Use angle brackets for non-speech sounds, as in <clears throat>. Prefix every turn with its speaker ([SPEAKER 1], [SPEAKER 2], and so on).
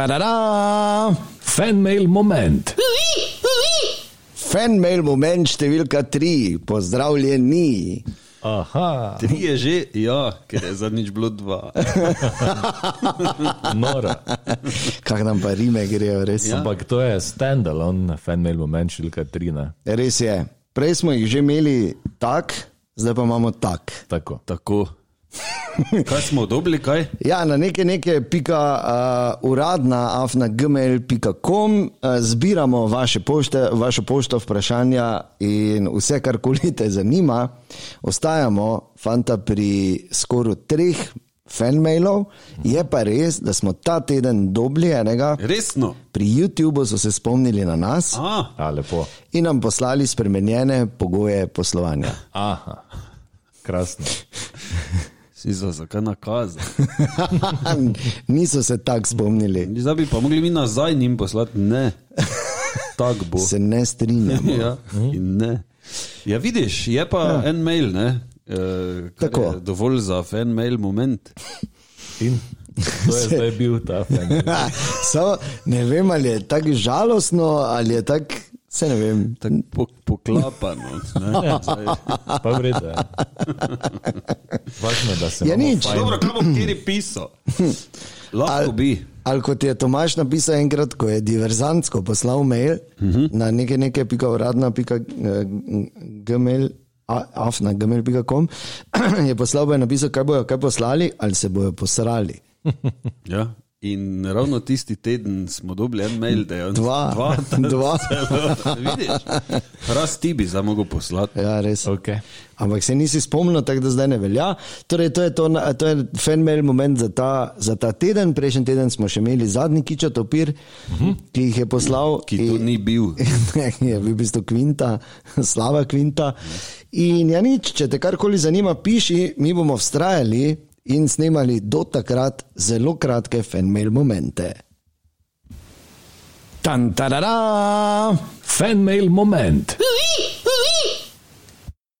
[SPEAKER 1] Tantarara!
[SPEAKER 2] Fanmail moment.
[SPEAKER 3] Fanmail moment številka tri, pozdravljeni.
[SPEAKER 2] Aha,
[SPEAKER 4] Tri je že, ja, ker je zadnjič bilo dva.
[SPEAKER 2] nora.
[SPEAKER 3] Kaj nam pa rime grejo, res.
[SPEAKER 4] Ja.
[SPEAKER 3] Ja.
[SPEAKER 2] Ampak to je standalone, fanmail moment številka 3. Ne?
[SPEAKER 3] Res je. Prej smo jih že imeli tak, zdaj pa imamo tak.
[SPEAKER 2] Tako.
[SPEAKER 4] Tako. Kaj smo dobili, kaj?
[SPEAKER 3] Ja, na neke neke pika uh, uradna afna.gmail.com uh, zbiramo vaše pošte, vašo pošto, vprašanja in vse, kar koli te zanima. Ostajamo, fanta, pri skoraj treh fanmailov. Je pa res, da smo ta teden dobili enega.
[SPEAKER 4] Resno.
[SPEAKER 3] Pri YouTubu so se spomnili na nas
[SPEAKER 4] A,
[SPEAKER 2] A, lepo.
[SPEAKER 3] in nam poslali spremenjene pogoje poslovanja. <laughs>
[SPEAKER 2] Aha, krasno.
[SPEAKER 4] si za zakaj nakazal?
[SPEAKER 3] Niso se tako spomnili,
[SPEAKER 4] Zdaj bi pa mogli mi nazaj njim poslati, ne. Tako bo.
[SPEAKER 3] se ne strinjam. <laughs>
[SPEAKER 4] Ja, in ne. Ja, vidiš, je pa ja. en mail, ne. Uh,
[SPEAKER 3] Tako.
[SPEAKER 4] Dovolj za en mail moment.
[SPEAKER 2] In to
[SPEAKER 3] <laughs>
[SPEAKER 2] je zdaj bil ta fanmail.
[SPEAKER 3] Samo, ne vem, ali je tako žalostno, ali je tako, se ne vem.
[SPEAKER 4] Tako po, poklapano. ne. Zdaj-
[SPEAKER 2] Pa vrede. Važno je, da se
[SPEAKER 3] Ja,
[SPEAKER 2] imamo
[SPEAKER 3] nič.
[SPEAKER 2] fajn.
[SPEAKER 4] Dobro, kaj bom kjer pisal? Lahko bi.
[SPEAKER 3] Ali kot je Tomaš napisal enkrat, ko je diverzantsko poslal mail uh -huh. na nekaj, nekaj, pika uradna, pika eh, gmail. a- Afna, gmail.com <clears throat> je poslal, bo je napisal, kaj bojo kaj poslali, ali se bojo posrali.
[SPEAKER 4] Ja. In ravno tisti teden smo dobili en mail, da je
[SPEAKER 3] Dva.
[SPEAKER 4] <laughs> dva,
[SPEAKER 3] <laughs> Dva.
[SPEAKER 4] Celo, vidiš, raz ti bi zdaj mogel poslati.
[SPEAKER 3] Ja, res.
[SPEAKER 2] Okay.
[SPEAKER 3] Ampak se nisi spomnil, tako da zdaj ne velja. Torej, to je, to, na- to je fenomenal moment za ta, za ta teden. Prejšnji teden smo še imeli zadnji kičo topir, uh -huh. ki jih je poslal.
[SPEAKER 4] Mhm. Ki to
[SPEAKER 3] in- <laughs>
[SPEAKER 4] ni bil.
[SPEAKER 3] je bil v bistvu kvinta, <laughs> slava kvinta. In ja, nič, če te karkoli zanima, piši, mi bomo vztrajali in snemali do takrat zelo kratke fenomenal momente.
[SPEAKER 1] Tantarara!
[SPEAKER 2] Fanmail moment.